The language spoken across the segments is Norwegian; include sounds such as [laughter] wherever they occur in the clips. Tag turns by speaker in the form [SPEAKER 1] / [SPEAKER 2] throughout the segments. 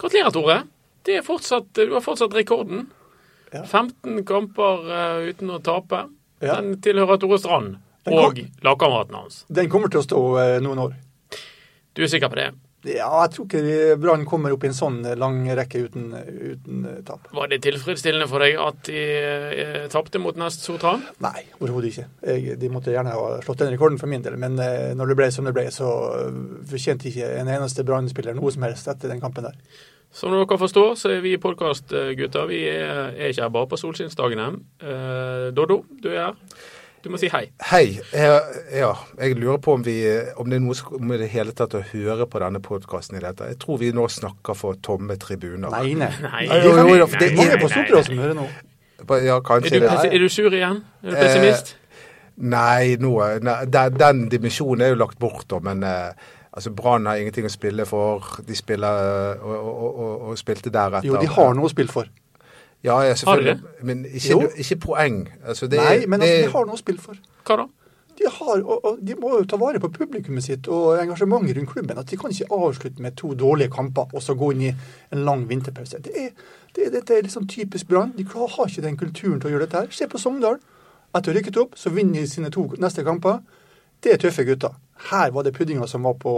[SPEAKER 1] Gratulerer, Tore. Det er fortsatt, du har fortsatt rekorden.
[SPEAKER 2] Ja.
[SPEAKER 1] 15 kamper eh, uten å tape.
[SPEAKER 2] Ja.
[SPEAKER 1] Den tilhører Tore Strand
[SPEAKER 2] Den kom-
[SPEAKER 1] og lagkameraten hans.
[SPEAKER 2] Den kommer til å stå eh, noen år.
[SPEAKER 1] Du er sikker på det?
[SPEAKER 2] Ja, jeg tror ikke Brann kommer opp i en sånn lang rekke uten, uten eh, tap.
[SPEAKER 1] Var det tilfredsstillende for deg at de eh, tapte mot Nest Sotra?
[SPEAKER 2] Nei, overhodet ikke. Jeg, de måtte gjerne ha slått den rekorden for min del, men eh, når det ble som det ble, så eh, fortjente ikke en eneste Brann-spiller noe som helst etter den kampen der.
[SPEAKER 1] Som dere forstår, så er vi podkastgutter. Vi er, er ikke her bare på solskinnsdagene. Eh, Doddo, du er her. Du må si hei.
[SPEAKER 3] Hei. Jeg, ja, jeg lurer på om, vi, om det er noe som i det hele tatt å høre på denne podkasten i dette. Jeg tror vi nå snakker for tomme tribuner.
[SPEAKER 2] Nei, nei.
[SPEAKER 1] Nei.
[SPEAKER 3] Jo, jo, jo, for
[SPEAKER 2] Det er
[SPEAKER 3] Nei,
[SPEAKER 2] mange
[SPEAKER 3] nei,
[SPEAKER 2] på Sotra som hører nå.
[SPEAKER 3] Ba- Ja,
[SPEAKER 1] Er
[SPEAKER 3] kanskje
[SPEAKER 1] du,
[SPEAKER 3] det.
[SPEAKER 1] pessi- er du sur igjen? Er du pessimist?
[SPEAKER 2] Eh,
[SPEAKER 3] Nei, nå, nei den, den dimensjonen er jo lagt bort, da, men eh, altså Brann har ingenting å spille for. De spiller eh, og, og, og, og spilte deretter.
[SPEAKER 2] Jo, de har noe å spille for.
[SPEAKER 3] Ja, ja, selvfølgelig.
[SPEAKER 1] Har
[SPEAKER 3] Men
[SPEAKER 2] Jo.
[SPEAKER 3] ikke, ikke poeng. Altså, det,
[SPEAKER 2] Nei, men altså, de
[SPEAKER 3] det-
[SPEAKER 2] har noe å spille for.
[SPEAKER 1] Hva da?
[SPEAKER 2] De, har, og, og de må jo ta vare på publikummet sitt og engasjementet rundt klubben. At de kan ikke avslutte med to dårlige kamper og så gå inn i en lang vinterpause. Det er, det, dette er liksom typisk Brann. De klar- har ikke den kulturen til å gjøre dette her. Se på Sogndal. Etter å ha rykket opp, så vinner de sine to neste kamper. Det er tøffe gutter. Her var det puddinga som var på,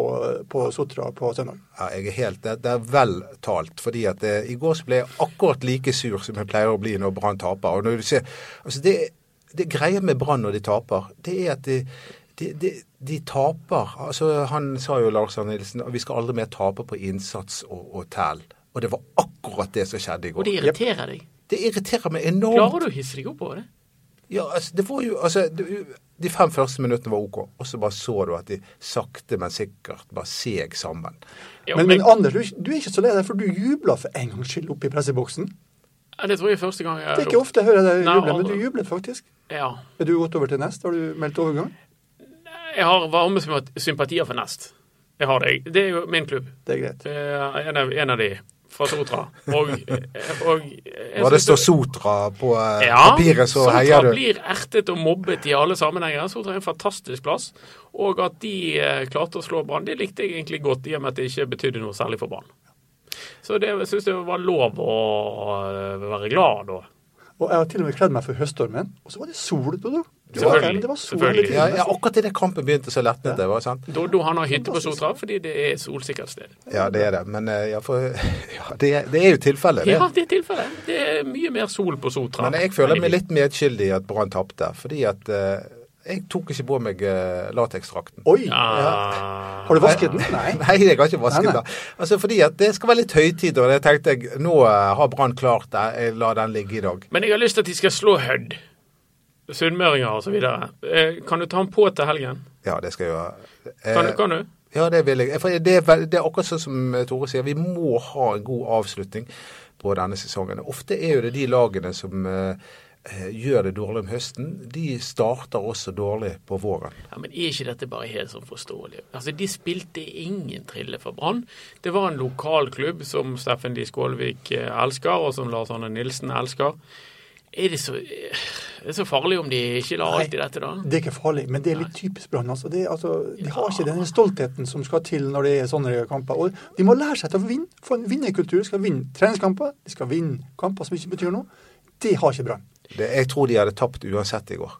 [SPEAKER 2] på Sotra på søndag.
[SPEAKER 3] Ja, jeg er helt, det, det er vel talt, fordi at eh, i går så ble jeg akkurat like sur som jeg pleier å bli når Brann taper. Og når du ser, altså det, det greia med Brann når de taper, det er at de, de, de, de taper. Altså, han sa jo Lars Arne Nilsen vi skal aldri mer tape på innsats og, og tæl. Og det var akkurat det som skjedde i
[SPEAKER 1] Og
[SPEAKER 3] går.
[SPEAKER 1] det irriterer deg.
[SPEAKER 3] Det irriterer meg enormt.
[SPEAKER 1] Klarer du å hisse deg opp over det?
[SPEAKER 3] Ja, altså, det var jo, altså, du- de fem første minuttene var OK, og så bare så du at de sakte, men sikkert bare seg sammen.
[SPEAKER 1] Jo,
[SPEAKER 2] Men,
[SPEAKER 1] men-
[SPEAKER 2] men Anders, du, er ikke- du er ikke så lei deg, for du jubla for en gangs skyld oppe i presseboksen.
[SPEAKER 1] Ja, det tror jeg er første gang jeg
[SPEAKER 2] Det er ikke ofte jeg hører deg
[SPEAKER 1] Nei,
[SPEAKER 2] juble, men
[SPEAKER 1] aldri.
[SPEAKER 2] du jublet faktisk.
[SPEAKER 1] Ja.
[SPEAKER 2] Er du gått over til nest? Har du meldt overgang?
[SPEAKER 1] Jeg har varme sympat- sympatier for Nest. Jeg har det. Det er jo min klubb.
[SPEAKER 2] Det er greit.
[SPEAKER 1] Det er En av, en av de fra Sotra. Og, og jeg
[SPEAKER 3] Når det
[SPEAKER 1] synes
[SPEAKER 3] står Sotra på eh,
[SPEAKER 1] Ja,
[SPEAKER 3] papiret, så
[SPEAKER 1] Sotra
[SPEAKER 3] heier du.
[SPEAKER 1] blir ertet og mobbet i alle sammenhenger. Sotra er en fantastisk plass. Og at de eh, klarte å slå Brann, det likte jeg egentlig godt, i og med at det ikke betydde noe særlig for Brann. Så det syns jeg var lov å eh, være glad da.
[SPEAKER 2] Og jeg har til og med kledd meg for høststormen, og så var det sol, Dodo. Det var-
[SPEAKER 1] Selvfølgelig,
[SPEAKER 2] Det var sol hele
[SPEAKER 1] selvfølgelig.
[SPEAKER 2] tiden.
[SPEAKER 3] Ja, ja, akkurat idet kampen begynte, så letnet det. var det sant?
[SPEAKER 1] Doddo han har hytte på Sotra fordi det er et solsikkert sted.
[SPEAKER 3] Ja, det er det. Men eh, ja, for, [laughs] ja, det, er- det er jo tilfellet, det.
[SPEAKER 1] Ja, det er tilfellet. Det er mye mer sol på Sotra.
[SPEAKER 3] Men jeg føler meg litt medskyldig i at Brann tapte. Fordi at eh, jeg tok ikke på meg eh, lateksdrakten.
[SPEAKER 2] Oi!
[SPEAKER 1] ja.
[SPEAKER 2] Har du vasket den? Nei.
[SPEAKER 3] [laughs] Nei, jeg har ikke vasket
[SPEAKER 2] Nei, nei.
[SPEAKER 3] den. Altså, fordi at det skal være litt høytid, og det tenkte jeg nå eh, har Brann klart det. Jeg lar den ligge i dag.
[SPEAKER 1] Men jeg har lyst til at de skal slå Hødd. Sunnmøringer og så videre. Eh, Kan du ta han på til helgen?
[SPEAKER 3] Ja, det skal jeg gjøre.
[SPEAKER 1] Kan,
[SPEAKER 3] Eh,
[SPEAKER 1] kan du?
[SPEAKER 3] Ja, det vil jeg. For det, er vel- det er akkurat sånn som Tore sier, vi må ha en god avslutning på denne sesongen. Ofte er jo det de lagene som eh, eh, gjør det dårlig om høsten, de starter også dårlig på våren.
[SPEAKER 1] Ja, men er ikke dette bare helt sånn forståelig? Altså, De spilte ingen trille for Brann. Det var en lokalklubb som Steffen D. Skålvik eh, elsker, og som Lars Arne Nilsen elsker. Er det så, eh, er det så farlig om de ikke lar alt i dette, da?
[SPEAKER 2] Det er ikke farlig, men det er litt typisk Brann. Altså. Det er, altså, de har ikke den stoltheten som skal til når det er sånne kamper. Og de må lære seg til å vinne. For en vinnerkultur skal vinne treningskamper, de skal vinne kamper som ikke betyr noe. Det har ikke Brann.
[SPEAKER 3] Det, jeg tror de hadde tapt uansett i går.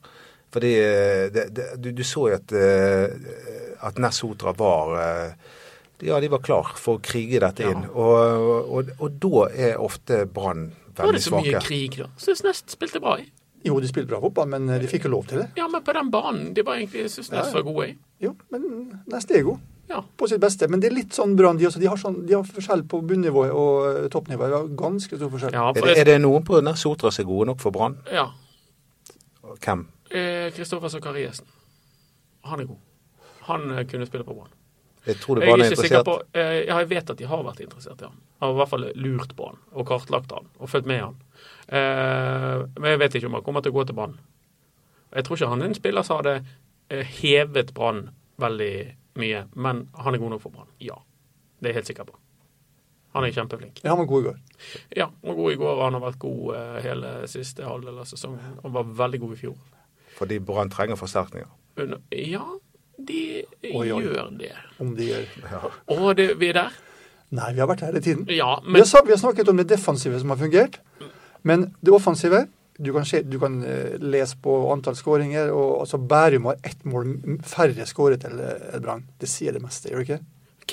[SPEAKER 3] Fordi eh, det, det, du, du så jo at, eh, at Ness Sotra var eh, Ja, de var klar for å krige dette inn. Og, og, og da er ofte Brann
[SPEAKER 1] Var det
[SPEAKER 3] veldig
[SPEAKER 1] så mye
[SPEAKER 3] svake.
[SPEAKER 1] krig, da? Syns Nest spilte bra. jeg.
[SPEAKER 2] Jo, de spilte bra fotball, men de fikk jo lov til det.
[SPEAKER 1] Ja, men på den banen. Det var egentlig Syns
[SPEAKER 2] Ja,
[SPEAKER 1] Nest
[SPEAKER 2] ja.
[SPEAKER 1] var god, jeg.
[SPEAKER 2] Jo, men neste er god.
[SPEAKER 1] Ja.
[SPEAKER 2] På sitt beste. Men det er litt sånn Brann, de også. De har, sånn, de har forskjell på bunnivået og eh, toppnivået. Det var ganske stor forskjell.
[SPEAKER 1] ja,
[SPEAKER 3] Er
[SPEAKER 1] for
[SPEAKER 3] det, er
[SPEAKER 1] jeg,
[SPEAKER 3] det noen på Ness Sotra som er gode nok for Brann?
[SPEAKER 1] ja.
[SPEAKER 3] Hvem?
[SPEAKER 1] Eh, Kristoffer Sakariassen. Han er god. Han eh, kunne spille på Brann.
[SPEAKER 3] Jeg tror du
[SPEAKER 1] Jeg er
[SPEAKER 3] bare er
[SPEAKER 1] ikke sikker
[SPEAKER 3] interessert.
[SPEAKER 1] på eh, Ja, jeg vet at de har vært interessert i han. Har i hvert fall lurt på han, og kartlagt han, og fulgt med han. Eh, men jeg vet ikke om han kommer til å gå til Brann. Jeg tror ikke han er en spiller som hadde eh, hevet Brann veldig mye, men han er god nok for Brann. Ja. Det er jeg helt sikker på. Han er kjempeflink.
[SPEAKER 2] Ja, han var god i går.
[SPEAKER 1] Ja, han var god i går. Han har vært god eh, hele siste halvdel av sesongen. Han var veldig god i fjor.
[SPEAKER 3] Fordi Brann trenger forsterkninger.
[SPEAKER 1] Under, ja, de
[SPEAKER 2] Oi, oi.
[SPEAKER 1] gjør det.
[SPEAKER 2] Om de gjør
[SPEAKER 1] Og det, vi er der.
[SPEAKER 2] Nei, vi har vært der hele tiden.
[SPEAKER 1] Ja,
[SPEAKER 2] vi,
[SPEAKER 1] men
[SPEAKER 2] har, sa- vi har snakket om det defensive som har fungert, men det offensive du kan, se, du kan eh, lese på antall skåringer. og altså Bærum har ett mål m- færre skåret enn eh, Brann. Det sier det meste, gjør det ikke?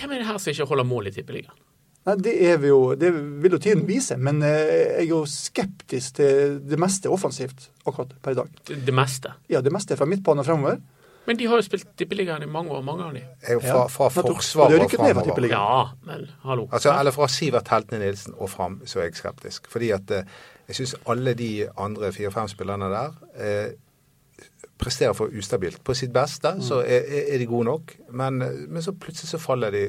[SPEAKER 1] hvem er det her som ikke holder mål i Tippeligaen?
[SPEAKER 2] Nei, Det er vi jo, det vil jo tiden vise, men eh, jeg er jo skeptisk til det meste offensivt akkurat per i dag.
[SPEAKER 1] Det, det meste.
[SPEAKER 2] Ja, det meste er fra midtbane og fremover.
[SPEAKER 1] Men de har jo spilt Tippeligaen i mange år, mange av de.
[SPEAKER 3] Er jo Fra, fra
[SPEAKER 2] nettopp. Og
[SPEAKER 3] forsvar
[SPEAKER 2] det er
[SPEAKER 3] og
[SPEAKER 2] rykket ned fra
[SPEAKER 3] framover.
[SPEAKER 2] Tippeligaen.
[SPEAKER 1] Ja, men hallo.
[SPEAKER 3] Altså, eller fra Sivert Heltene Nilsen og fram, så er jeg skeptisk. Fordi at eh, jeg syns alle de andre fire-fem spillerne der eh, presterer for ustabilt. På sitt beste så er, er de gode nok, men, eh, men så plutselig så faller de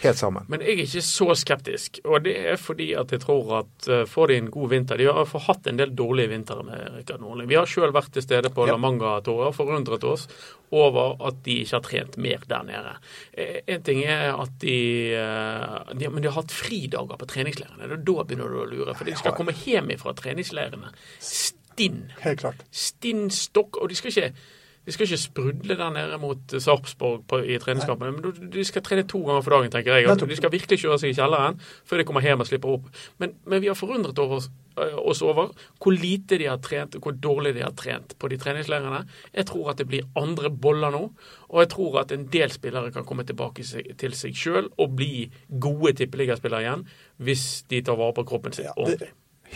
[SPEAKER 3] helt sammen.
[SPEAKER 1] Men jeg er ikke så skeptisk, og det er fordi at jeg tror at eh, får de en god vinter De har for hatt en del dårlige vintre med Rikard Nordli. Vi har sjøl vært til stede på
[SPEAKER 3] Ja.
[SPEAKER 1] La Manga et år og forundret oss over at de ikke har trent mer der nede. Eh, En ting er at de, eh, de Men de har hatt fridager på treningsleirene. og Da begynner du å lure, for de skal komme hjem fra treningsleirene stinn
[SPEAKER 2] Helt klart.
[SPEAKER 1] stinn stokk. Og de skal ikke, de skal ikke sprudle der nede mot eh, Sarpsborg på- i treningskampene. Men du- de skal trene to ganger for dagen, tenker jeg. Og
[SPEAKER 2] Nettopp.
[SPEAKER 1] de skal virkelig kjøre seg i kjelleren før de kommer hjem og slipper opp. Men, men vi har forundret over oss, eh, oss over hvor lite de har trent, og hvor dårlig de har trent på de treningsleirene. Jeg tror at det blir andre boller nå, og jeg tror at en del spillere kan komme tilbake seg, til seg sjøl og bli gode tippeligaspillere igjen hvis de tar vare på kroppen sin
[SPEAKER 2] Ja, det,
[SPEAKER 1] ordentlig.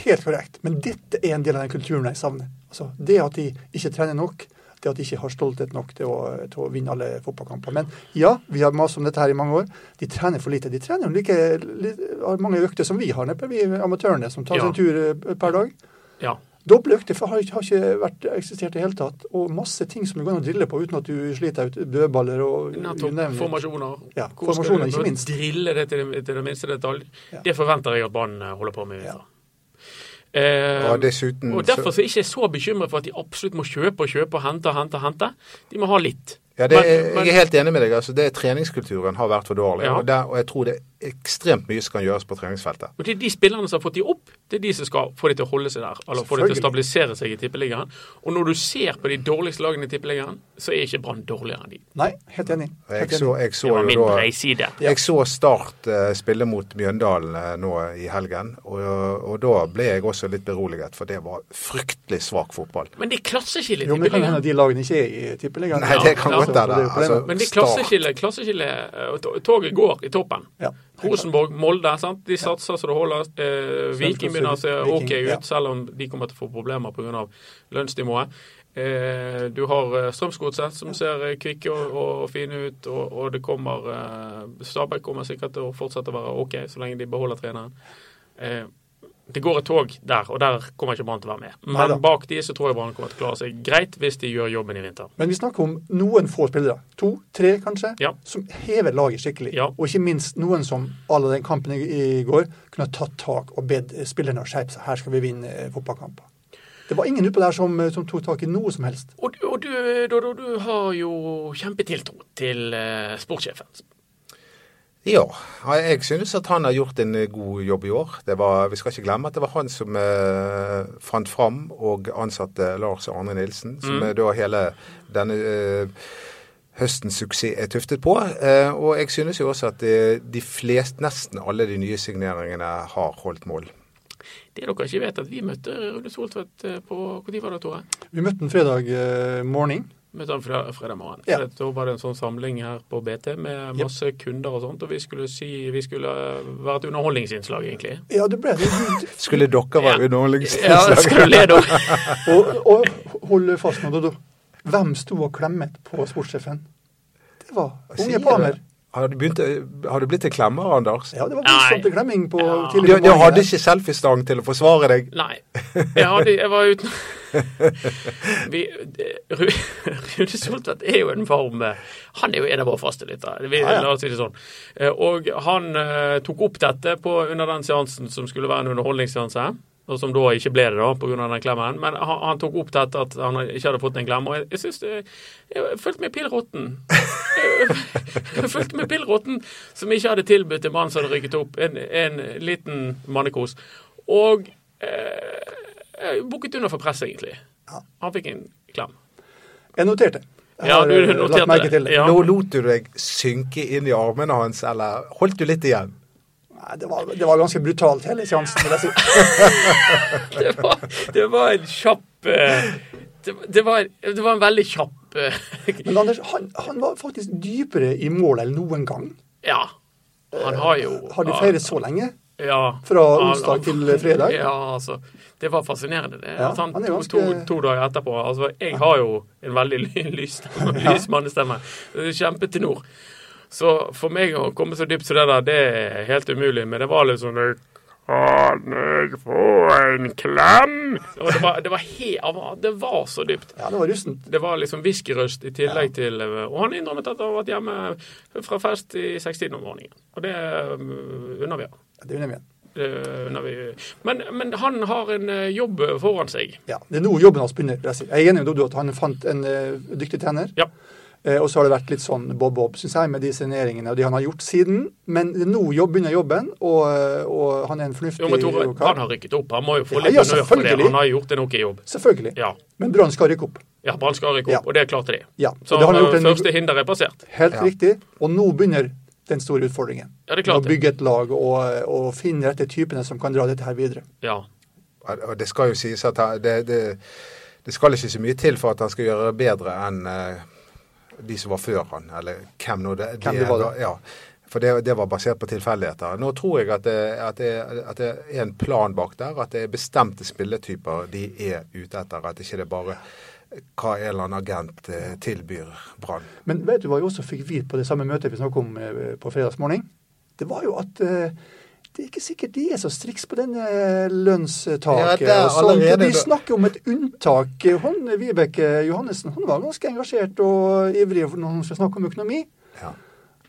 [SPEAKER 2] helt korrekt. Men dette er en del av den kulturen jeg savner. Altså, det at de ikke trener nok, det at de ikke har stolthet nok til å, til å vinne alle fotballkamper. Men ja, vi har mast om dette her i mange år. De trener for lite. De trener jo like, li- har mange økter som vi har, neppe, vi amatørene som tar
[SPEAKER 1] Ja.
[SPEAKER 2] seg en tur eh, per dag.
[SPEAKER 1] Ja.
[SPEAKER 2] Doble økter for har, ikke- har ikke vært eksistert i det hele tatt. Og masse ting som du går an å drille på uten at du sliter ut dødballer og you
[SPEAKER 1] Nettopp.
[SPEAKER 2] name it.
[SPEAKER 1] Formasjoner.
[SPEAKER 2] Ja,
[SPEAKER 1] Hvor skal du
[SPEAKER 2] formasjoner, ikke minst.
[SPEAKER 1] Drille det til det, til det minste detalj.
[SPEAKER 2] Ja.
[SPEAKER 1] Det forventer jeg at Brann eh, holder på med. i
[SPEAKER 2] Ja.
[SPEAKER 1] vinter. Eh,
[SPEAKER 3] Og dessuten
[SPEAKER 1] og Derfor så er jeg ikke så bekymret for at de absolutt må kjøpe og kjøpe og hente og hente. og hente. De må ha litt.
[SPEAKER 3] Ja, det, er-
[SPEAKER 1] Men- men-
[SPEAKER 3] Jeg er helt enig med deg. altså det Treningskulturen har vært for dårlig.
[SPEAKER 1] Ja.
[SPEAKER 3] Og, der, og jeg tror det er ekstremt mye som kan gjøres på treningsfeltet.
[SPEAKER 1] Og Det er de spillerne som har fått de opp, det er de som skal få de til å holde seg der. Eller få de til å
[SPEAKER 2] Selvfølgelig.
[SPEAKER 1] stabilisere seg i Tippeligaen. Og når du ser på de dårligste lagene i Tippeligaen, så er ikke Brann dårligere enn de.
[SPEAKER 2] Nei, helt enig.
[SPEAKER 3] Og Jeg
[SPEAKER 2] Helt
[SPEAKER 3] så,
[SPEAKER 2] enig.
[SPEAKER 3] jeg så
[SPEAKER 1] Det var min
[SPEAKER 3] jo da
[SPEAKER 1] breiside.
[SPEAKER 2] Ja.
[SPEAKER 3] Jeg så Start eh, spille mot Mjøndalen eh, nå i helgen, og, og da ble jeg også litt beroliget, for det var fryktelig svak fotball.
[SPEAKER 1] Men det er klasseskille i
[SPEAKER 2] Jo, men det kan
[SPEAKER 1] Tippeligaen.
[SPEAKER 2] hende at de lagene ikke er i tippeligaen.
[SPEAKER 3] Nei, det kan
[SPEAKER 1] Ja,
[SPEAKER 3] godt
[SPEAKER 2] Så det er
[SPEAKER 3] hende.
[SPEAKER 2] jo problemet.
[SPEAKER 3] Altså,
[SPEAKER 1] Men det er
[SPEAKER 3] Start
[SPEAKER 1] klasseskille. klasseskille eh, og to- Toget går i toppen.
[SPEAKER 2] Ja.
[SPEAKER 1] Rosenborg, Molde. sant? De satser så det holder. Eh, Viking begynner å se
[SPEAKER 2] Viking,
[SPEAKER 1] OK ut,
[SPEAKER 2] ja.
[SPEAKER 1] selv om de kommer til å få problemer pga. lønnsnivået. Eh, du har eh, Strømsgodset, som ser eh, kvikke og, og fine ut. Og, og det kommer eh, Stabæk kommer sikkert til å fortsette å være OK så lenge de beholder treneren. Eh, det går et tog der, og der kommer ikke Brann til å være med. Men
[SPEAKER 2] Neida.
[SPEAKER 1] bak de så tror jeg Brann kommer til å klare seg greit hvis de gjør jobben i vinter.
[SPEAKER 2] Men vi snakker om noen få spillere, to, tre kanskje,
[SPEAKER 1] Ja.
[SPEAKER 2] som hever laget skikkelig.
[SPEAKER 1] Ja.
[SPEAKER 2] Og ikke minst noen som alle den kampen i i går kunne ha tatt tak og bedt spillerne å skjerpe seg. Her skal vi vinne eh, fotballkamper. Det var ingen utpå der som, eh, som tok tak i noe som helst.
[SPEAKER 1] Og, og du, Dodo, du har jo kjempetiltro til eh, sportssjefen.
[SPEAKER 3] Ja, jeg synes at han har gjort en eh, god jobb i år. Det var, vi skal ikke glemme at det var han som eh, fant fram og ansatte Lars Arne Nilsen, som
[SPEAKER 1] Mm.
[SPEAKER 3] eh, da hele denne eh, høstens suksess er tuftet på. Eh, og jeg synes jo også at eh, de flest, nesten alle de nye signeringene har holdt mål.
[SPEAKER 1] Det dere ikke vet, at vi møtte Rune Soltvedt eh, på Når var det, Tore?
[SPEAKER 2] Vi møtte en fredag eh, morgen.
[SPEAKER 1] Møtte han fre- fredag morgen.
[SPEAKER 2] Ja.
[SPEAKER 1] For Da var det en sånn samling her på BT med masse kunder og sånt, og vi skulle si Vi skulle eh, være et underholdningsinnslag, egentlig.
[SPEAKER 2] Ja, det ble det.
[SPEAKER 3] Skulle dere
[SPEAKER 1] Mm. Ja.
[SPEAKER 3] være
[SPEAKER 1] Ja,
[SPEAKER 3] underholdningsinnslag?
[SPEAKER 1] skal du le, da?
[SPEAKER 2] Og, og hold fast nå, Dodo. Hvem sto og klemmet på sportssjefen? Det var
[SPEAKER 3] Sier
[SPEAKER 2] unge
[SPEAKER 3] du?
[SPEAKER 2] Pamer.
[SPEAKER 3] Har du, begynt, å- har du blitt en klemmer, Anders?
[SPEAKER 2] Ja, det var
[SPEAKER 1] Nei.
[SPEAKER 2] voldsomt klemming på
[SPEAKER 1] Ja.
[SPEAKER 3] Du,
[SPEAKER 2] tidlig
[SPEAKER 3] du hadde ikke selfiestang til å forsvare deg?
[SPEAKER 1] Nei. Jeg, hadde, jeg var uten [laughs] vi, eh, Ru- [laughs] Rune Soltvedt er jo en varm eh, Han er jo en av våre faste lyttere. Vi-
[SPEAKER 2] Ja, ja.
[SPEAKER 1] La oss si det sånn. Eh, Og han eh, tok opp dette på, under den seansen som skulle være en underholdningsseanse. Og som da ikke ble det, da, pga. den klemmen. Men han, han tok opp dette at han ikke hadde fått en klem. Og jeg, jeg syns det Jeg følte meg pill råtten. Jeg fulgte med pillrotten, som ikke hadde tilbudt en mann som hadde rykket opp, en, en liten mannekos. Og eh, jeg bukket under for press, egentlig.
[SPEAKER 2] Ja.
[SPEAKER 1] Han fikk en klem.
[SPEAKER 2] Jeg noterte. Jeg
[SPEAKER 1] Ja,
[SPEAKER 2] har,
[SPEAKER 1] du
[SPEAKER 2] eh,
[SPEAKER 1] noterte
[SPEAKER 2] lagt merke
[SPEAKER 1] det.
[SPEAKER 2] til det.
[SPEAKER 1] Ja.
[SPEAKER 3] Nå lot du deg synke inn i armene hans, eller holdt du litt igjen?
[SPEAKER 2] Nei, det var, det var ganske brutalt, hele seansen, vil jeg si.
[SPEAKER 1] [laughs] Det var, det var en kjapp eh, det, var- det, var, det var en veldig kjapp eh, [laughs]
[SPEAKER 2] Men Anders, han, han var faktisk dypere i mål enn noen gang.
[SPEAKER 1] Ja. Han har jo
[SPEAKER 2] Har de feiret så lenge?
[SPEAKER 1] Ja.
[SPEAKER 2] Fra
[SPEAKER 1] Han-
[SPEAKER 2] onsdag til fredag?
[SPEAKER 1] Ja, altså. Det var fascinerende. Det.
[SPEAKER 2] Ja,
[SPEAKER 1] at han,
[SPEAKER 2] han er
[SPEAKER 1] to,
[SPEAKER 2] ganske-
[SPEAKER 1] to, to dager etterpå Altså, jeg har jo en veldig ly- [laughs] lys, lys mannestemme. Kjempetenor. Så for meg å komme så dypt som det der, det er helt umulig. Men det var liksom Kan jeg få en klem? Og det var, det var, he, han var- det var så dypt.
[SPEAKER 2] Ja, det var russent.
[SPEAKER 1] Det var liksom whiskyrøst i tillegg til eh, Og han innrømmet at han har vært hjemme fra fest i sekstiden om morgenen. Og det øh, unner vi ham.
[SPEAKER 2] Ja, det er igjen.
[SPEAKER 1] Det unner Eh, vi. Men, men han har en eh, jobb foran seg.
[SPEAKER 2] Ja, det er nå jobben hans begynner. vil Jeg si. Jeg er enig med Doddo at han fant en eh, dyktig trener.
[SPEAKER 1] Ja.
[SPEAKER 2] Eh, og så har det vært litt sånn bob-bob, syns jeg, med de signeringene og det han har gjort siden. Men det er nå jobb, begynner jobben, og, eh, og han er en fornuftig
[SPEAKER 1] Jo, men Tore,
[SPEAKER 2] kar.
[SPEAKER 1] han har rykket opp. Han må jo få
[SPEAKER 2] Ja,
[SPEAKER 1] litt
[SPEAKER 2] ja,
[SPEAKER 1] honnør for det.
[SPEAKER 2] selvfølgelig.
[SPEAKER 1] Han har gjort en OK jobb.
[SPEAKER 2] Selvfølgelig.
[SPEAKER 1] Ja.
[SPEAKER 2] Men Brann skal rykke opp.
[SPEAKER 1] ja Brann skal rykke opp,
[SPEAKER 2] Ja.
[SPEAKER 1] og det klarte de.
[SPEAKER 2] Ja, og
[SPEAKER 1] Så
[SPEAKER 2] det har han
[SPEAKER 1] eh,
[SPEAKER 2] gjort en-
[SPEAKER 1] første hinder er passert.
[SPEAKER 2] Helt
[SPEAKER 3] Ja.
[SPEAKER 2] riktig. Og nå begynner den store utfordringen.
[SPEAKER 1] Ja, det er klart
[SPEAKER 2] Å
[SPEAKER 1] det.
[SPEAKER 2] bygge et lag og, og finne rette typene som kan dra dette her videre.
[SPEAKER 1] Ja.
[SPEAKER 3] Og og det skal jo sies at han, det, det, det skal ikke så mye til for at han skal gjøre bedre enn eh, de som var før han, eller hvem nå det,
[SPEAKER 2] Hvem det var da.
[SPEAKER 3] Ja, for det, det var basert på tilfeldigheter. Nå tror jeg at det, at, det, at det er en plan bak der, at det er bestemte spilletyper de er ute etter. At ikke det er bare hva en eller annen agent eh, tilbyr Brann.
[SPEAKER 2] Men vet du hva vi også fikk vite på det samme møtet vi snakket om eh, på fredagsmorgen? Det var jo at eh, det er ikke sikkert de er så striks på denne
[SPEAKER 3] Ja,
[SPEAKER 2] lønnstaket.
[SPEAKER 3] det er
[SPEAKER 2] og sånt.
[SPEAKER 3] allerede-
[SPEAKER 2] de snakker om et unntak. Hun, Vibeke Johannessen hun var ganske engasjert og ivrig for når hun skal snakke om økonomi.
[SPEAKER 3] Ja.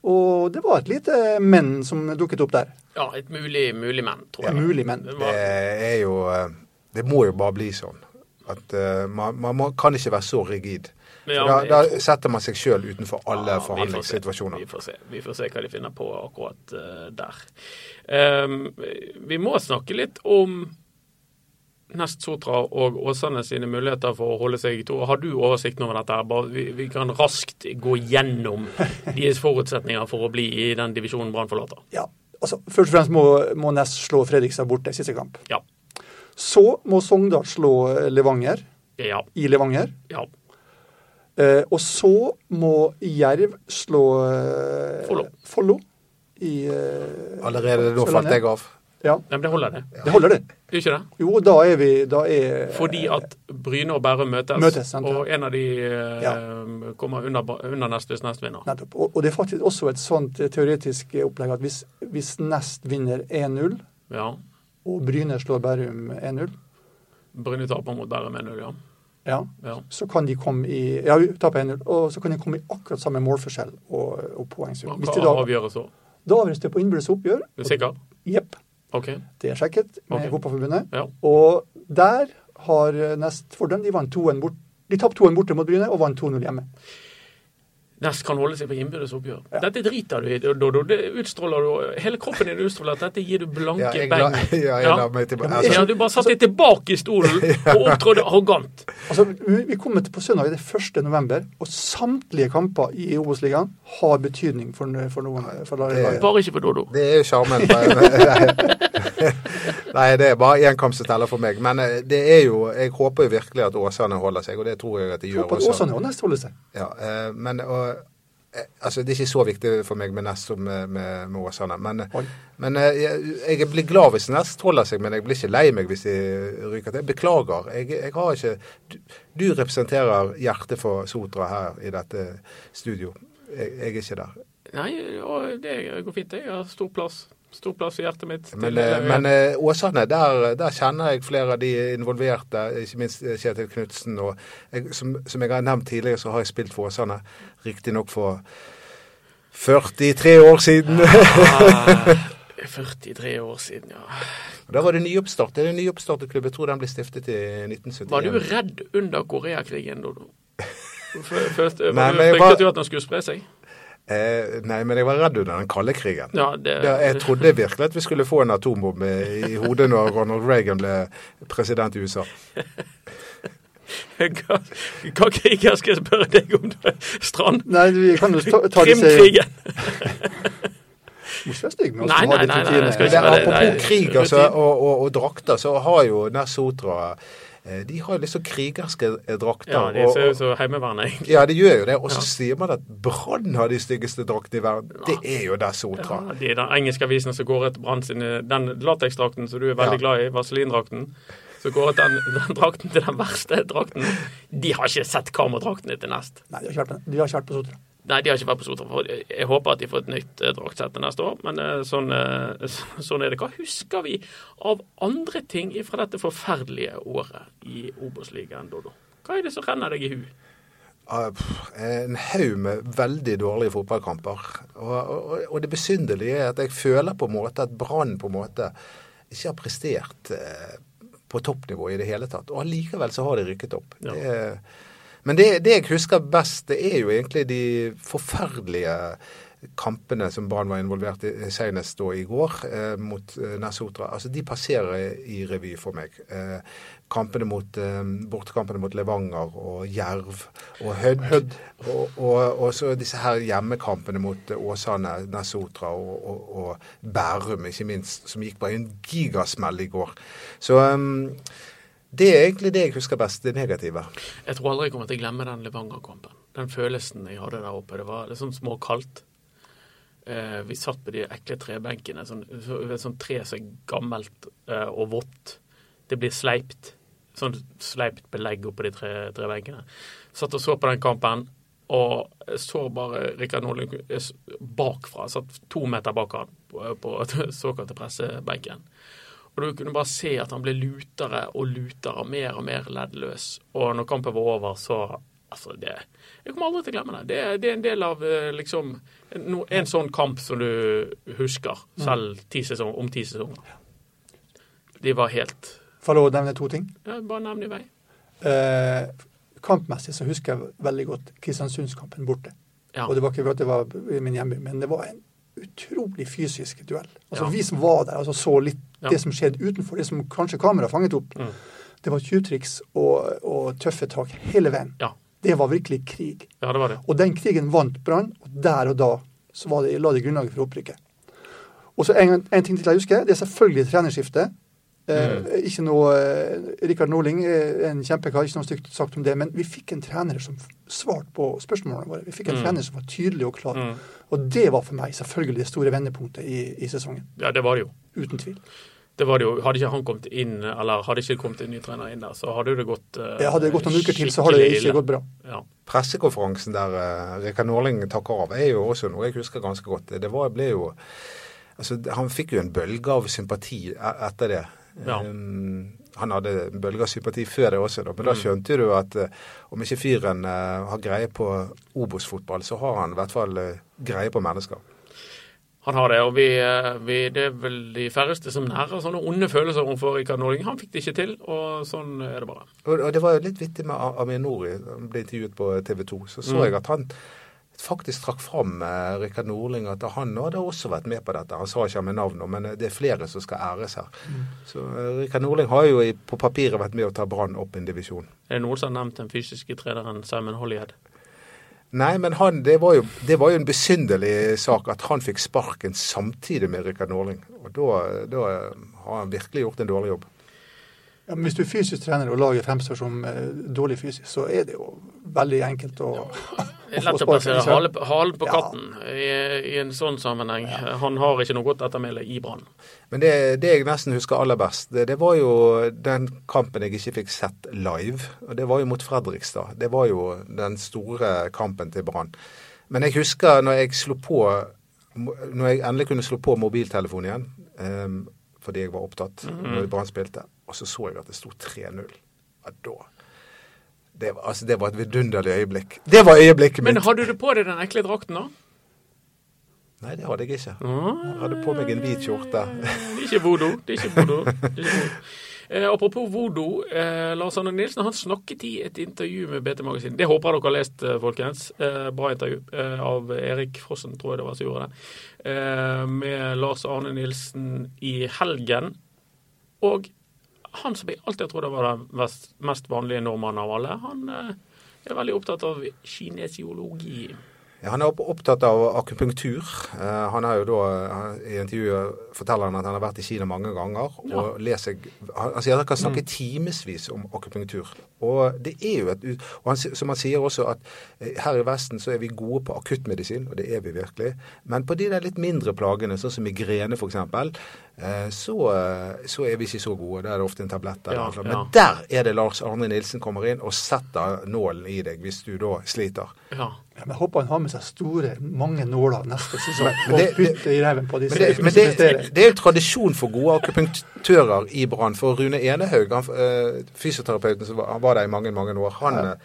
[SPEAKER 2] Og det var et lite menn som dukket opp der.
[SPEAKER 1] ja et mulig, mulig menn, tror jeg.
[SPEAKER 2] Mulig menn.
[SPEAKER 1] Det
[SPEAKER 3] Det
[SPEAKER 1] var,
[SPEAKER 3] er jo eh, Det må jo bare bli sånn. At eh, man, man må, kan ikke være så rigid. For
[SPEAKER 1] Ja, men jeg
[SPEAKER 3] da, da
[SPEAKER 1] tror-
[SPEAKER 3] setter man seg sjøl utenfor
[SPEAKER 1] Ja, vi
[SPEAKER 3] alle
[SPEAKER 1] får se.
[SPEAKER 3] forhandlingssituasjoner.
[SPEAKER 1] Vi får se. Vi får se hva de finner på akkurat eh, der. Ehm, vi må snakke litt om Nest Sotra og Åsane sine muligheter for å holde seg i to. Har du oversikten over dette? her? Bare, vi, vi kan raskt gå gjennom deres forutsetninger for å bli i den divisjonen Brann forlater.
[SPEAKER 2] Ja, altså Først og fremst må, må Næss slå Fredrikstad borte i siste kamp.
[SPEAKER 1] Ja.
[SPEAKER 2] Så må Sogndal slå eh, Levanger
[SPEAKER 1] Ja.
[SPEAKER 2] i Levanger.
[SPEAKER 1] ja.
[SPEAKER 2] Eh, og så må Jerv slå eh,
[SPEAKER 1] Follo.
[SPEAKER 2] Follo i eh,
[SPEAKER 3] Allerede da falt jeg av.
[SPEAKER 2] Ja,
[SPEAKER 1] Nei, men det holder, det.
[SPEAKER 2] det holder, det.
[SPEAKER 1] Gjør ikke det?
[SPEAKER 2] Jo, da er vi da er,
[SPEAKER 1] Fordi at Bryne og Bærum møtes,
[SPEAKER 2] Møtes, sant, ja.
[SPEAKER 1] og en av de eh,
[SPEAKER 2] Ja.
[SPEAKER 1] kommer under, under nest hvis nest vinner.
[SPEAKER 2] Nettopp. Og, og det er faktisk også et sånt eh, teoretisk eh, opplegg at hvis, hvis Nest vinner 1-0,
[SPEAKER 1] Ja.
[SPEAKER 2] og Bryne slår Bærum 1-0,
[SPEAKER 1] Bryne taper mot Bærum 1-0, ja.
[SPEAKER 2] ja,
[SPEAKER 1] ja.
[SPEAKER 2] så kan de komme i ja, vi taper 1-0, og så kan de komme i akkurat samme målforskjell og, og poengsum. Hvis de
[SPEAKER 1] Hva
[SPEAKER 2] da,
[SPEAKER 1] avgjøres så?
[SPEAKER 2] da avgjøres det på innbyrdes oppgjør.
[SPEAKER 1] Er du sikker?
[SPEAKER 2] Jepp,
[SPEAKER 1] OK.
[SPEAKER 2] det er sjekket med
[SPEAKER 1] Ok.
[SPEAKER 2] Fotballforbundet.
[SPEAKER 1] Ja.
[SPEAKER 2] Og der har eh, Nest fordel. De vant 2-1 bort. De tapte 2-1 borte mot Bryne og vant 2-0 hjemme.
[SPEAKER 1] Nest kan holde seg på innbyrdes oppgjør.
[SPEAKER 2] Ja.
[SPEAKER 1] Dette driter du i, Dodo. Det utstråler du Hele kroppen din utstråler at dette gir du blanke
[SPEAKER 3] Ja, jeg la,
[SPEAKER 1] beng.
[SPEAKER 3] [laughs] ja, jeg
[SPEAKER 1] Ja.
[SPEAKER 3] la meg tilbake.
[SPEAKER 1] Ja,
[SPEAKER 3] Altså,
[SPEAKER 1] du bare satte deg tilbake i
[SPEAKER 3] [laughs]
[SPEAKER 1] stolen og opptrådte arrogant.
[SPEAKER 2] Altså, vi vi kommer til på søndag det er 1. november, og samtlige kamper i Obos-ligaen har betydning for, for noen. For laget.
[SPEAKER 1] Bare ikke for Dodo.
[SPEAKER 3] det er jo
[SPEAKER 2] [laughs]
[SPEAKER 3] sjarmen. Nei, [laughs] Nei, det er bare én kamp som teller for meg. Men eh, det er jo Jeg håper jo virkelig at Åsane holder seg, og det tror jeg at de
[SPEAKER 2] Jeg
[SPEAKER 3] gjør
[SPEAKER 2] håper at
[SPEAKER 3] også.
[SPEAKER 2] Åsane og Nest holder seg.
[SPEAKER 3] Ja, eh, men og, eh, altså, Det er ikke så viktig for meg med Nest som med, med, med Åsane. Men,
[SPEAKER 2] Oi.
[SPEAKER 3] men eh, jeg, jeg blir glad hvis Nest holder seg, men jeg blir ikke lei meg hvis de ryker til. Jeg Beklager. Jeg, jeg har ikke du, du representerer hjertet for Sotra her i dette studio. Jeg, jeg er ikke der.
[SPEAKER 1] Nei, å, det går fint. Jeg har stor plass. Stor plass i hjertet mitt. til-
[SPEAKER 3] Men, eh, men eh, Åsane, der, der kjenner jeg flere av de involverte, ikke minst eh, Kjetil Knutsen. Og jeg, som, som jeg har nevnt tidligere, så har jeg spilt for Åsane, riktignok for 43 år siden.
[SPEAKER 1] Ah, 43 år siden, ja.
[SPEAKER 3] [laughs] Da var det nyoppstart. Det er en nyoppstartet klubb. Jeg tror den ble stiftet i 1971.
[SPEAKER 1] Var du redd under Koreakrigen,
[SPEAKER 3] [laughs]
[SPEAKER 1] Dodo? Før- Først,
[SPEAKER 3] Nei, men jeg
[SPEAKER 1] fryktet
[SPEAKER 3] var-
[SPEAKER 1] du at den skulle spre seg?
[SPEAKER 3] Eh, nei, men jeg var redd under den kalde krigen.
[SPEAKER 1] Ja, det,
[SPEAKER 3] Ja,
[SPEAKER 1] [laughs]
[SPEAKER 3] jeg trodde virkelig at vi skulle få en atombombe i hodet når Ronald Reagan ble president i USA.
[SPEAKER 1] Hva, hva kriger skal jeg spørre deg om, da? Strand?
[SPEAKER 2] Nei, vi kan jo ta, ta disse
[SPEAKER 1] Krimkrigen!
[SPEAKER 2] Må ikke være stygg med oss.
[SPEAKER 1] Nei,
[SPEAKER 2] som har
[SPEAKER 1] nei,
[SPEAKER 2] de
[SPEAKER 1] nei, nei,
[SPEAKER 2] rutinene.
[SPEAKER 1] jeg skal ikke
[SPEAKER 3] Men
[SPEAKER 1] være det.
[SPEAKER 3] apropos
[SPEAKER 1] Nei,
[SPEAKER 3] krig
[SPEAKER 1] rutin.
[SPEAKER 3] altså, og, og, og drakter, så har jo Nær Sotra eh, De har jo litt sånn krigerske eh, drakter.
[SPEAKER 1] Ja, de
[SPEAKER 3] og-
[SPEAKER 1] ser ut som Heimevernet, egentlig.
[SPEAKER 3] ja, de gjør jo det. Og så
[SPEAKER 1] Ja.
[SPEAKER 3] sier man at Brann har de styggeste draktene i verden. Det er jo Nær Sotra.
[SPEAKER 1] Ja, det er den engelske avisen som går etter Brann sine Den lateksdrakten som du er veldig
[SPEAKER 3] Ja.
[SPEAKER 1] glad i, vaselindrakten, så går etter den, den drakten til den verste drakten. De har ikke sett kameradraktene til nest.
[SPEAKER 2] Nei, de har ikke vært på- de har ikke vært på Sotra.
[SPEAKER 1] Nei, de har ikke vært på Sotra. for Jeg håper at de får et nytt eh, draktsett til neste år, men eh, sånn, eh, [laughs] så- sånn er det. Hva husker vi av andre ting fra dette forferdelige året i Obos-ligaen, Dodo? Hva er det som renner deg i hu?
[SPEAKER 3] Ah, pff, En haug med veldig dårlige fotballkamper. Og, og, og det besynderlige er at jeg føler på en måte at Brann på en måte ikke har prestert eh, på toppnivå i det hele tatt. Og allikevel så har de rykket opp.
[SPEAKER 1] Ja.
[SPEAKER 3] Det, men det, det jeg husker best, det er jo egentlig de forferdelige kampene som Brann var involvert i eh, senest da i går eh, mot eh, Nessotra. Altså, de passerer i revy for meg. Eh, kampene mot, eh, bortekampene mot Levanger og Jerv og Hødd. Og, og, og så disse her hjemmekampene mot eh, Åsane, Nessotra og, og, og Bærum, ikke minst, som gikk på en gigasmell i går. Så eh, det er egentlig det jeg husker best, det negative.
[SPEAKER 1] Jeg tror aldri jeg kommer til å glemme den Levanger-kampen. Den følelsen jeg hadde der oppe. Det var liksom småkaldt. Eh, vi satt på de ekle trebenkene. Sånn, så, det er sånn tre som er gammelt eh, og vått. Det blir sleipt. Sånn sleipt belegg oppå de tre trebenkene. Satt og så på den kampen, og jeg så bare Rikard Nordlund eh, s- bakfra. Jeg satt to meter bak han på, på [laughs] såkalte pressebenken. Og du kunne bare se at han ble lutere og lutere, mer og mer leddløs. Og når kampen var over, så Altså, det Jeg kommer aldri til å glemme det. Det, er- det er en del av eh, liksom en, no- en sånn kamp som du husker, selv ti sesong, om ti sesonger. De var helt
[SPEAKER 2] Får jeg lov å nevne to ting?
[SPEAKER 1] ja, Bare nevn i vei.
[SPEAKER 2] Eh, kampmessig så husker jeg veldig godt Kristiansundskampen borte.
[SPEAKER 1] Ja.
[SPEAKER 2] Og det var ikke for at det var i min hjemby, men det var en utrolig fysisk duell. Altså
[SPEAKER 1] Ja.
[SPEAKER 2] Vi som var der, altså så litt
[SPEAKER 1] Ja.
[SPEAKER 2] det som skjedde utenfor, det som kanskje kamera fanget opp.
[SPEAKER 1] Mm.
[SPEAKER 2] Det var tjuvtriks og, og tøffe tak hele veien.
[SPEAKER 1] Ja.
[SPEAKER 2] Det var virkelig krig.
[SPEAKER 1] ja, det var det.
[SPEAKER 2] Og den krigen vant Brann, og der og da så var det, la det grunnlaget for opprykket. Og så en, en ting til jeg husker, det er selvfølgelig trenerskiftet. Eh,
[SPEAKER 1] Mm.
[SPEAKER 2] Ikke noe eh, Rikard Norling er en kjempekar, ikke noe stygt sagt om det, men vi fikk en trener som svarte på spørsmålene våre. Vi fikk en
[SPEAKER 1] Mm.
[SPEAKER 2] trener som var tydelig og klar.
[SPEAKER 1] Mm.
[SPEAKER 2] Og det var for meg selvfølgelig det store vendepunktet i, i sesongen.
[SPEAKER 1] Ja, det var det jo.
[SPEAKER 2] Uten tvil.
[SPEAKER 1] Det var det jo. Hadde ikke han kommet inn, eller hadde ikke kommet en ny trener inn der, så hadde jo det gått uh,
[SPEAKER 2] Jeg hadde det gått noen uker til, så hadde det ikke gått bra.
[SPEAKER 1] Ja.
[SPEAKER 3] pressekonferansen der eh, Rikard Norling takker av, er jo også noe jeg husker ganske godt. Det var, ble jo Altså, han fikk jo en bølge av sympati e- etter det.
[SPEAKER 1] Ja.
[SPEAKER 3] Um, han hadde en bølge av sympati før det også, da, men da skjønte du at eh, om ikke fyren eh, har greie på Obos-fotball, så har han i hvert fall eh, greie på mennesker.
[SPEAKER 1] Han har det, og vi, eh, vi, det er vel de færreste som nærer sånne onde følelser overfor Rikard Norling. Han fikk det ikke til, og sånn er det bare.
[SPEAKER 3] Og, og det var jo litt vittig med A- Amir Nori, han ble intervjuet på TV 2. Så så
[SPEAKER 1] Mm.
[SPEAKER 3] jeg at han faktisk trakk fram eh, Rikard Norling, at han hadde også vært med på dette. Han sa ikke med navn nå, men eh, det er flere som skal æres her. Så eh, Rikard Norling har jo i, på papiret vært med å ta Brann opp en divisjon.
[SPEAKER 1] Er det noen som har nevnt den fysiske treneren Simon Hollyhead?
[SPEAKER 3] Nei, men han, det var, jo, det var jo en besynderlig sak at han fikk sparken samtidig med Rikard Norling. Og da, da eh, har han virkelig gjort en dårlig jobb.
[SPEAKER 2] Ja, men hvis du er fysisk trener og laget fremstår som eh, dårlig fysisk, så er det jo veldig enkelt [laughs] å
[SPEAKER 1] Det er
[SPEAKER 2] få
[SPEAKER 1] lett å
[SPEAKER 2] sparken,
[SPEAKER 1] plassere
[SPEAKER 2] ikke sant?
[SPEAKER 1] halen halen på
[SPEAKER 2] Ja.
[SPEAKER 1] katten i, i en sånn sammenheng. Han har ikke noe godt ettermæle i Brann.
[SPEAKER 3] Men det, det jeg nesten husker aller best, det, det var jo den kampen jeg ikke fikk sett live. Og det var jo mot Fredrikstad. Det var jo den store kampen til Brann. Men jeg husker når jeg slo på Når jeg endelig kunne slå på mobiltelefonen igjen, em, fordi jeg var opptatt når Brann spilte, og så så jeg at det sto 3-0. Ja, da det, var- altså, det var et vidunderlig øyeblikk. Det var øyeblikket
[SPEAKER 1] Men
[SPEAKER 3] mitt!
[SPEAKER 1] hadde du på deg den ekle drakten, da?
[SPEAKER 3] Nei, det hadde jeg ikke.
[SPEAKER 1] Ah,
[SPEAKER 3] Jeg hadde på meg en hvit skjorte.
[SPEAKER 1] Det er ikke voodoo. Det er ikke voodoo. Det er ikke voodoo. Eh, apropos voodoo. Eh, Lars Arne Nilsen han snakket i et intervju med BT Magasin. Det håper jeg dere har lest, eh, folkens. Eh, bra intervju eh, av Erik Fossen, tror jeg det var som gjorde det. Eh, med Lars Arne Nilsen i helgen. Og han som jeg alltid har trodd var den mest, mest vanlige nordmannen av alle, han eh, er veldig opptatt av kinesiologi.
[SPEAKER 3] Han er opp- opptatt av akupunktur. Eh, Han har jo da, han- I intervjuet forteller han at han har vært i Kina mange ganger. og leser, Han han sier at han kan
[SPEAKER 1] Mm.
[SPEAKER 3] snakke timevis om akupunktur. Og det er jo et, ut- og han, s- som han sier også at eh, her i Vesten så er vi gode på akuttmedisin, og det er vi virkelig. Men på de der litt mindre plagene, sånn som migrene f.eks., så, eh, så er vi ikke så gode. Da er det ofte en tablett. eller
[SPEAKER 1] Ja,
[SPEAKER 3] noe.
[SPEAKER 1] ja.
[SPEAKER 3] Men der er det Lars Arne Nilsen kommer inn og setter nålen i deg hvis du da sliter.
[SPEAKER 1] Ja.
[SPEAKER 2] Ja, men jeg håper han har med seg store, mange nåler neste sesong
[SPEAKER 3] Men- men
[SPEAKER 2] og
[SPEAKER 3] det-
[SPEAKER 2] putter i ræven på disse
[SPEAKER 3] Men det, men
[SPEAKER 2] som
[SPEAKER 3] det,
[SPEAKER 2] presterer.
[SPEAKER 3] det er jo tradisjon for gode akupunktører i Brann. For Rune Enehaug, han, eh, fysioterapeuten som var, han var der i mange mange år, han, eh,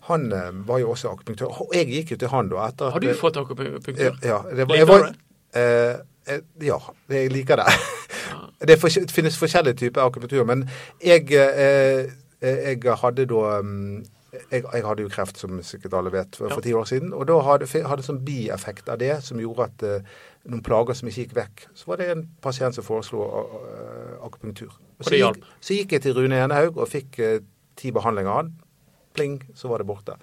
[SPEAKER 3] han eh, var jo også akupunktør. Og jeg gikk jo til han da etter at-
[SPEAKER 1] Har du fått akupunktur?
[SPEAKER 3] Ja. Det,
[SPEAKER 1] Liker
[SPEAKER 3] var- jeg var,
[SPEAKER 1] du
[SPEAKER 3] eh, eh, ja, jeg liker det. [laughs] det er forskjell- finnes forskjellige typer akupunktur, men jeg, eh, eh, jeg hadde da mm, jeg, jeg hadde jo kreft, som sikkert alle vet, for
[SPEAKER 1] Ja.
[SPEAKER 3] for ti år siden. Og da hadde fi- hadde sånn bieffekt av det som gjorde at eh, noen plager som ikke gikk vekk. Så var det en pasient som foreslo eh, akupunktur. Og så,
[SPEAKER 1] det
[SPEAKER 3] gikk,
[SPEAKER 1] hjalp?
[SPEAKER 3] så gikk jeg til Rune Enehaug og fikk eh, ti behandlinger av han. Pling, så var det borte.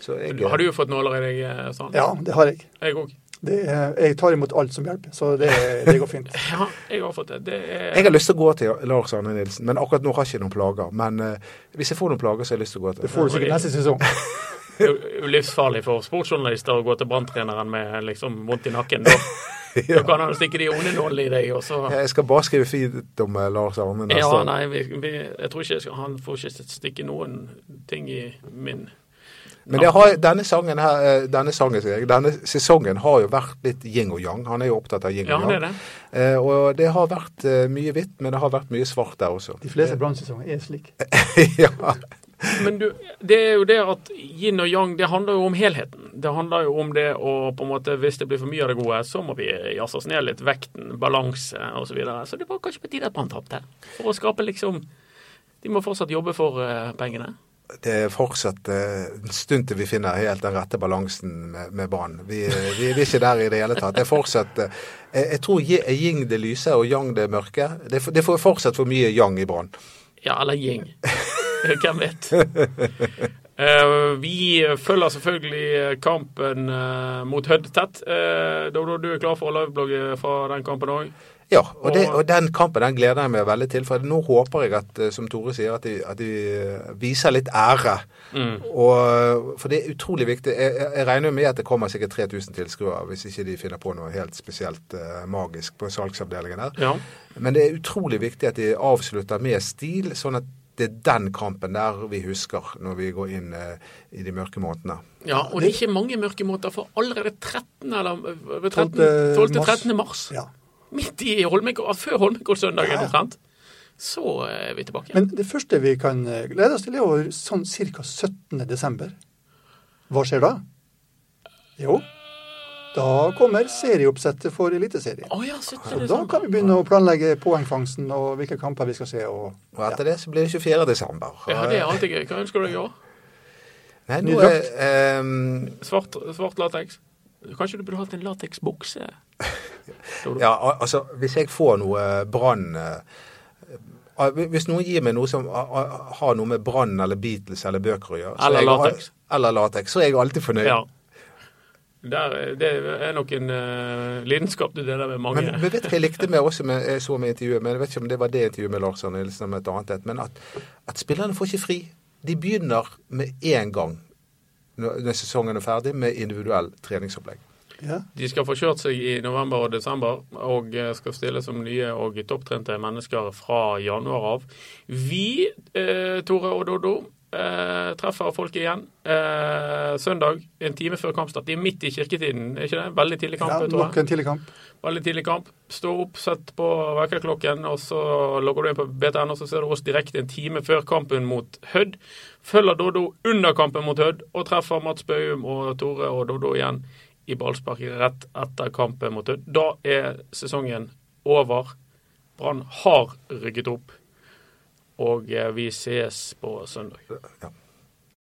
[SPEAKER 3] Så jeg,
[SPEAKER 1] Har du fått nåler i deg, eh, Sand?
[SPEAKER 2] Ja, det har jeg.
[SPEAKER 1] Jeg òg.
[SPEAKER 2] Det, er- jeg tar imot alt som hjelper, så det, det går fint.
[SPEAKER 1] Ja, jeg har fått det. Det er
[SPEAKER 3] Jeg har lyst til å gå til Lars Arne Nilsen, men akkurat nå har jeg ikke noen plager. Men eh, hvis jeg får noen plager, så har jeg lyst til å gå til
[SPEAKER 2] Det får du sikkert neste sesong.
[SPEAKER 1] Det er jo livsfarlig for sportsjournalister å gå til branntreneren med liksom vondt i nakken.
[SPEAKER 3] [laughs]
[SPEAKER 1] Da, da kan han stikke de onde nålene i deg, og så
[SPEAKER 3] Ja, Jeg skal bare skrive fint om eh, Lars Arne neste
[SPEAKER 1] Ja,
[SPEAKER 3] år.
[SPEAKER 1] nei, vi, vi, jeg tror ikke jeg skal, han får ikke stikke noen ting i min
[SPEAKER 3] Men det har, denne sangen her, eh, denne sangen, sier jeg, denne sesongen har jo vært litt yin og yang. Han er jo opptatt av yin
[SPEAKER 1] Ja,
[SPEAKER 3] og
[SPEAKER 1] han
[SPEAKER 3] yang.
[SPEAKER 1] er det.
[SPEAKER 3] Eh, og det har vært eh, mye hvitt, men det har vært mye svart der også.
[SPEAKER 2] De fleste brannsesonger er slik.
[SPEAKER 3] [laughs] ja.
[SPEAKER 1] Men du, det er jo det at yin og yang, det handler jo om helheten. Det handler jo om det å på en måte, hvis det blir for mye av det gode, så må vi jazze oss ned litt. Vekten, balanse osv. Så, videre. så det var kanskje på tide at man tapte. For å skape liksom De må fortsatt jobbe for eh, pengene.
[SPEAKER 3] Det er fortsatt eh, en stund til vi finner helt den rette balansen med, med Brann. Vi, eh, vi, vi er ikke der i det hele tatt. Det er fortsatt eh, jeg, jeg tror ye- er yin det lyse og yang det mørke. Det, er for- det er for- fortsatt for mye yang i Brann.
[SPEAKER 1] Ja, eller yin. Hvem vet? Eh, vi følger selvfølgelig kampen eh, mot Hødd tett. Eh, Dodo, du er klar for å liveblogge fra den kampen òg?
[SPEAKER 3] Ja, og, det,
[SPEAKER 1] Og-
[SPEAKER 3] og den kampen den gleder jeg meg veldig til. For nå håper jeg at, eh, som Tore sier, at de, at de eh, viser litt ære.
[SPEAKER 1] Mm.
[SPEAKER 3] Og, eh, for det er utrolig viktig. Jeg, jeg jeg regner jo med at det kommer sikkert 3000 tilskuere, hvis ikke de finner på noe helt spesielt eh, magisk på salgsavdelingen her.
[SPEAKER 1] Ja.
[SPEAKER 3] Men det er utrolig viktig at de avslutter med stil, sånn at det er den kampen der vi husker når vi går inn eh, i de mørke månedene.
[SPEAKER 1] ja. Og det er ikke mange mørke måter, for allerede 13. eller eh, 13,
[SPEAKER 2] 12.
[SPEAKER 1] 12.
[SPEAKER 2] mars.
[SPEAKER 1] 13. mars,
[SPEAKER 2] Ja.
[SPEAKER 1] midt i Holmenkoll, før Holmenkollsøndagen omtrent, så eh, er vi tilbake.
[SPEAKER 2] Men det første vi kan eh, glede oss til, er jo sånn ca. 17. desember. Hva skjer da? Jo, da kommer serieoppsettet for Eliteserien.
[SPEAKER 1] Å ja, sånn? 17.
[SPEAKER 2] Og da
[SPEAKER 1] desember.
[SPEAKER 2] kan vi begynne å planlegge poengfangsten og hvilke kamper vi skal se. Og,
[SPEAKER 3] Og etter det så blir det 24. desember.
[SPEAKER 1] Ja, det er alltid gøy. Hva ønsker du deg i år?
[SPEAKER 3] Nei,
[SPEAKER 2] Ny
[SPEAKER 3] nå er, ehm,
[SPEAKER 1] Svart, svart lateks? Kanskje du burde hatt en lateksbukse? Dodo?
[SPEAKER 3] Ja, al- altså, hvis jeg får noe brann eh, ah, Hvis noen gir meg noe som ah, ah, har noe med brann eller Beatles eller bøker å gjøre så
[SPEAKER 1] Eller
[SPEAKER 3] er jeg, al-
[SPEAKER 1] latex.
[SPEAKER 3] Eller latex. Så er jeg alltid fornøyd.
[SPEAKER 1] Ja. Der, eh, det er nok en eh, lidenskap du deler med mange.
[SPEAKER 3] Men, men vet du hva jeg likte med også med, jeg så med intervjuet, men jeg vet ikke om det var det intervjuet med Lars Arne Nilsen eller et annet et, men at, at spillerne får ikke fri. De begynner med én gang når, når sesongen er ferdig, med individuell treningsopplegg.
[SPEAKER 2] ja.
[SPEAKER 1] De skal få kjørt seg i november og desember, og eh, skal stille som nye og topptrente mennesker fra januar av. Vi, eh, Tore og Dodo, eh, treffer folk igjen eh, søndag, en time før kampstart. De er midt i kirketiden, er ikke det? Veldig tidlig kamp,
[SPEAKER 2] ja,
[SPEAKER 1] tror jeg.
[SPEAKER 2] nok en tidlig kamp.
[SPEAKER 1] Veldig tidlig kamp. Stå opp, sett på vekkerklokken, og så logger du inn på BTN, og så ser du oss direkte en time før kampen mot Hødd. Følger Dodo under kampen mot Hødd, og treffer Mats Bøhum og Tore og Dodo igjen i ballsparket rett etter kampen mot Hødd. Da er sesongen over. Brann har rykket opp, og eh, vi ses på søndag.
[SPEAKER 3] Ja.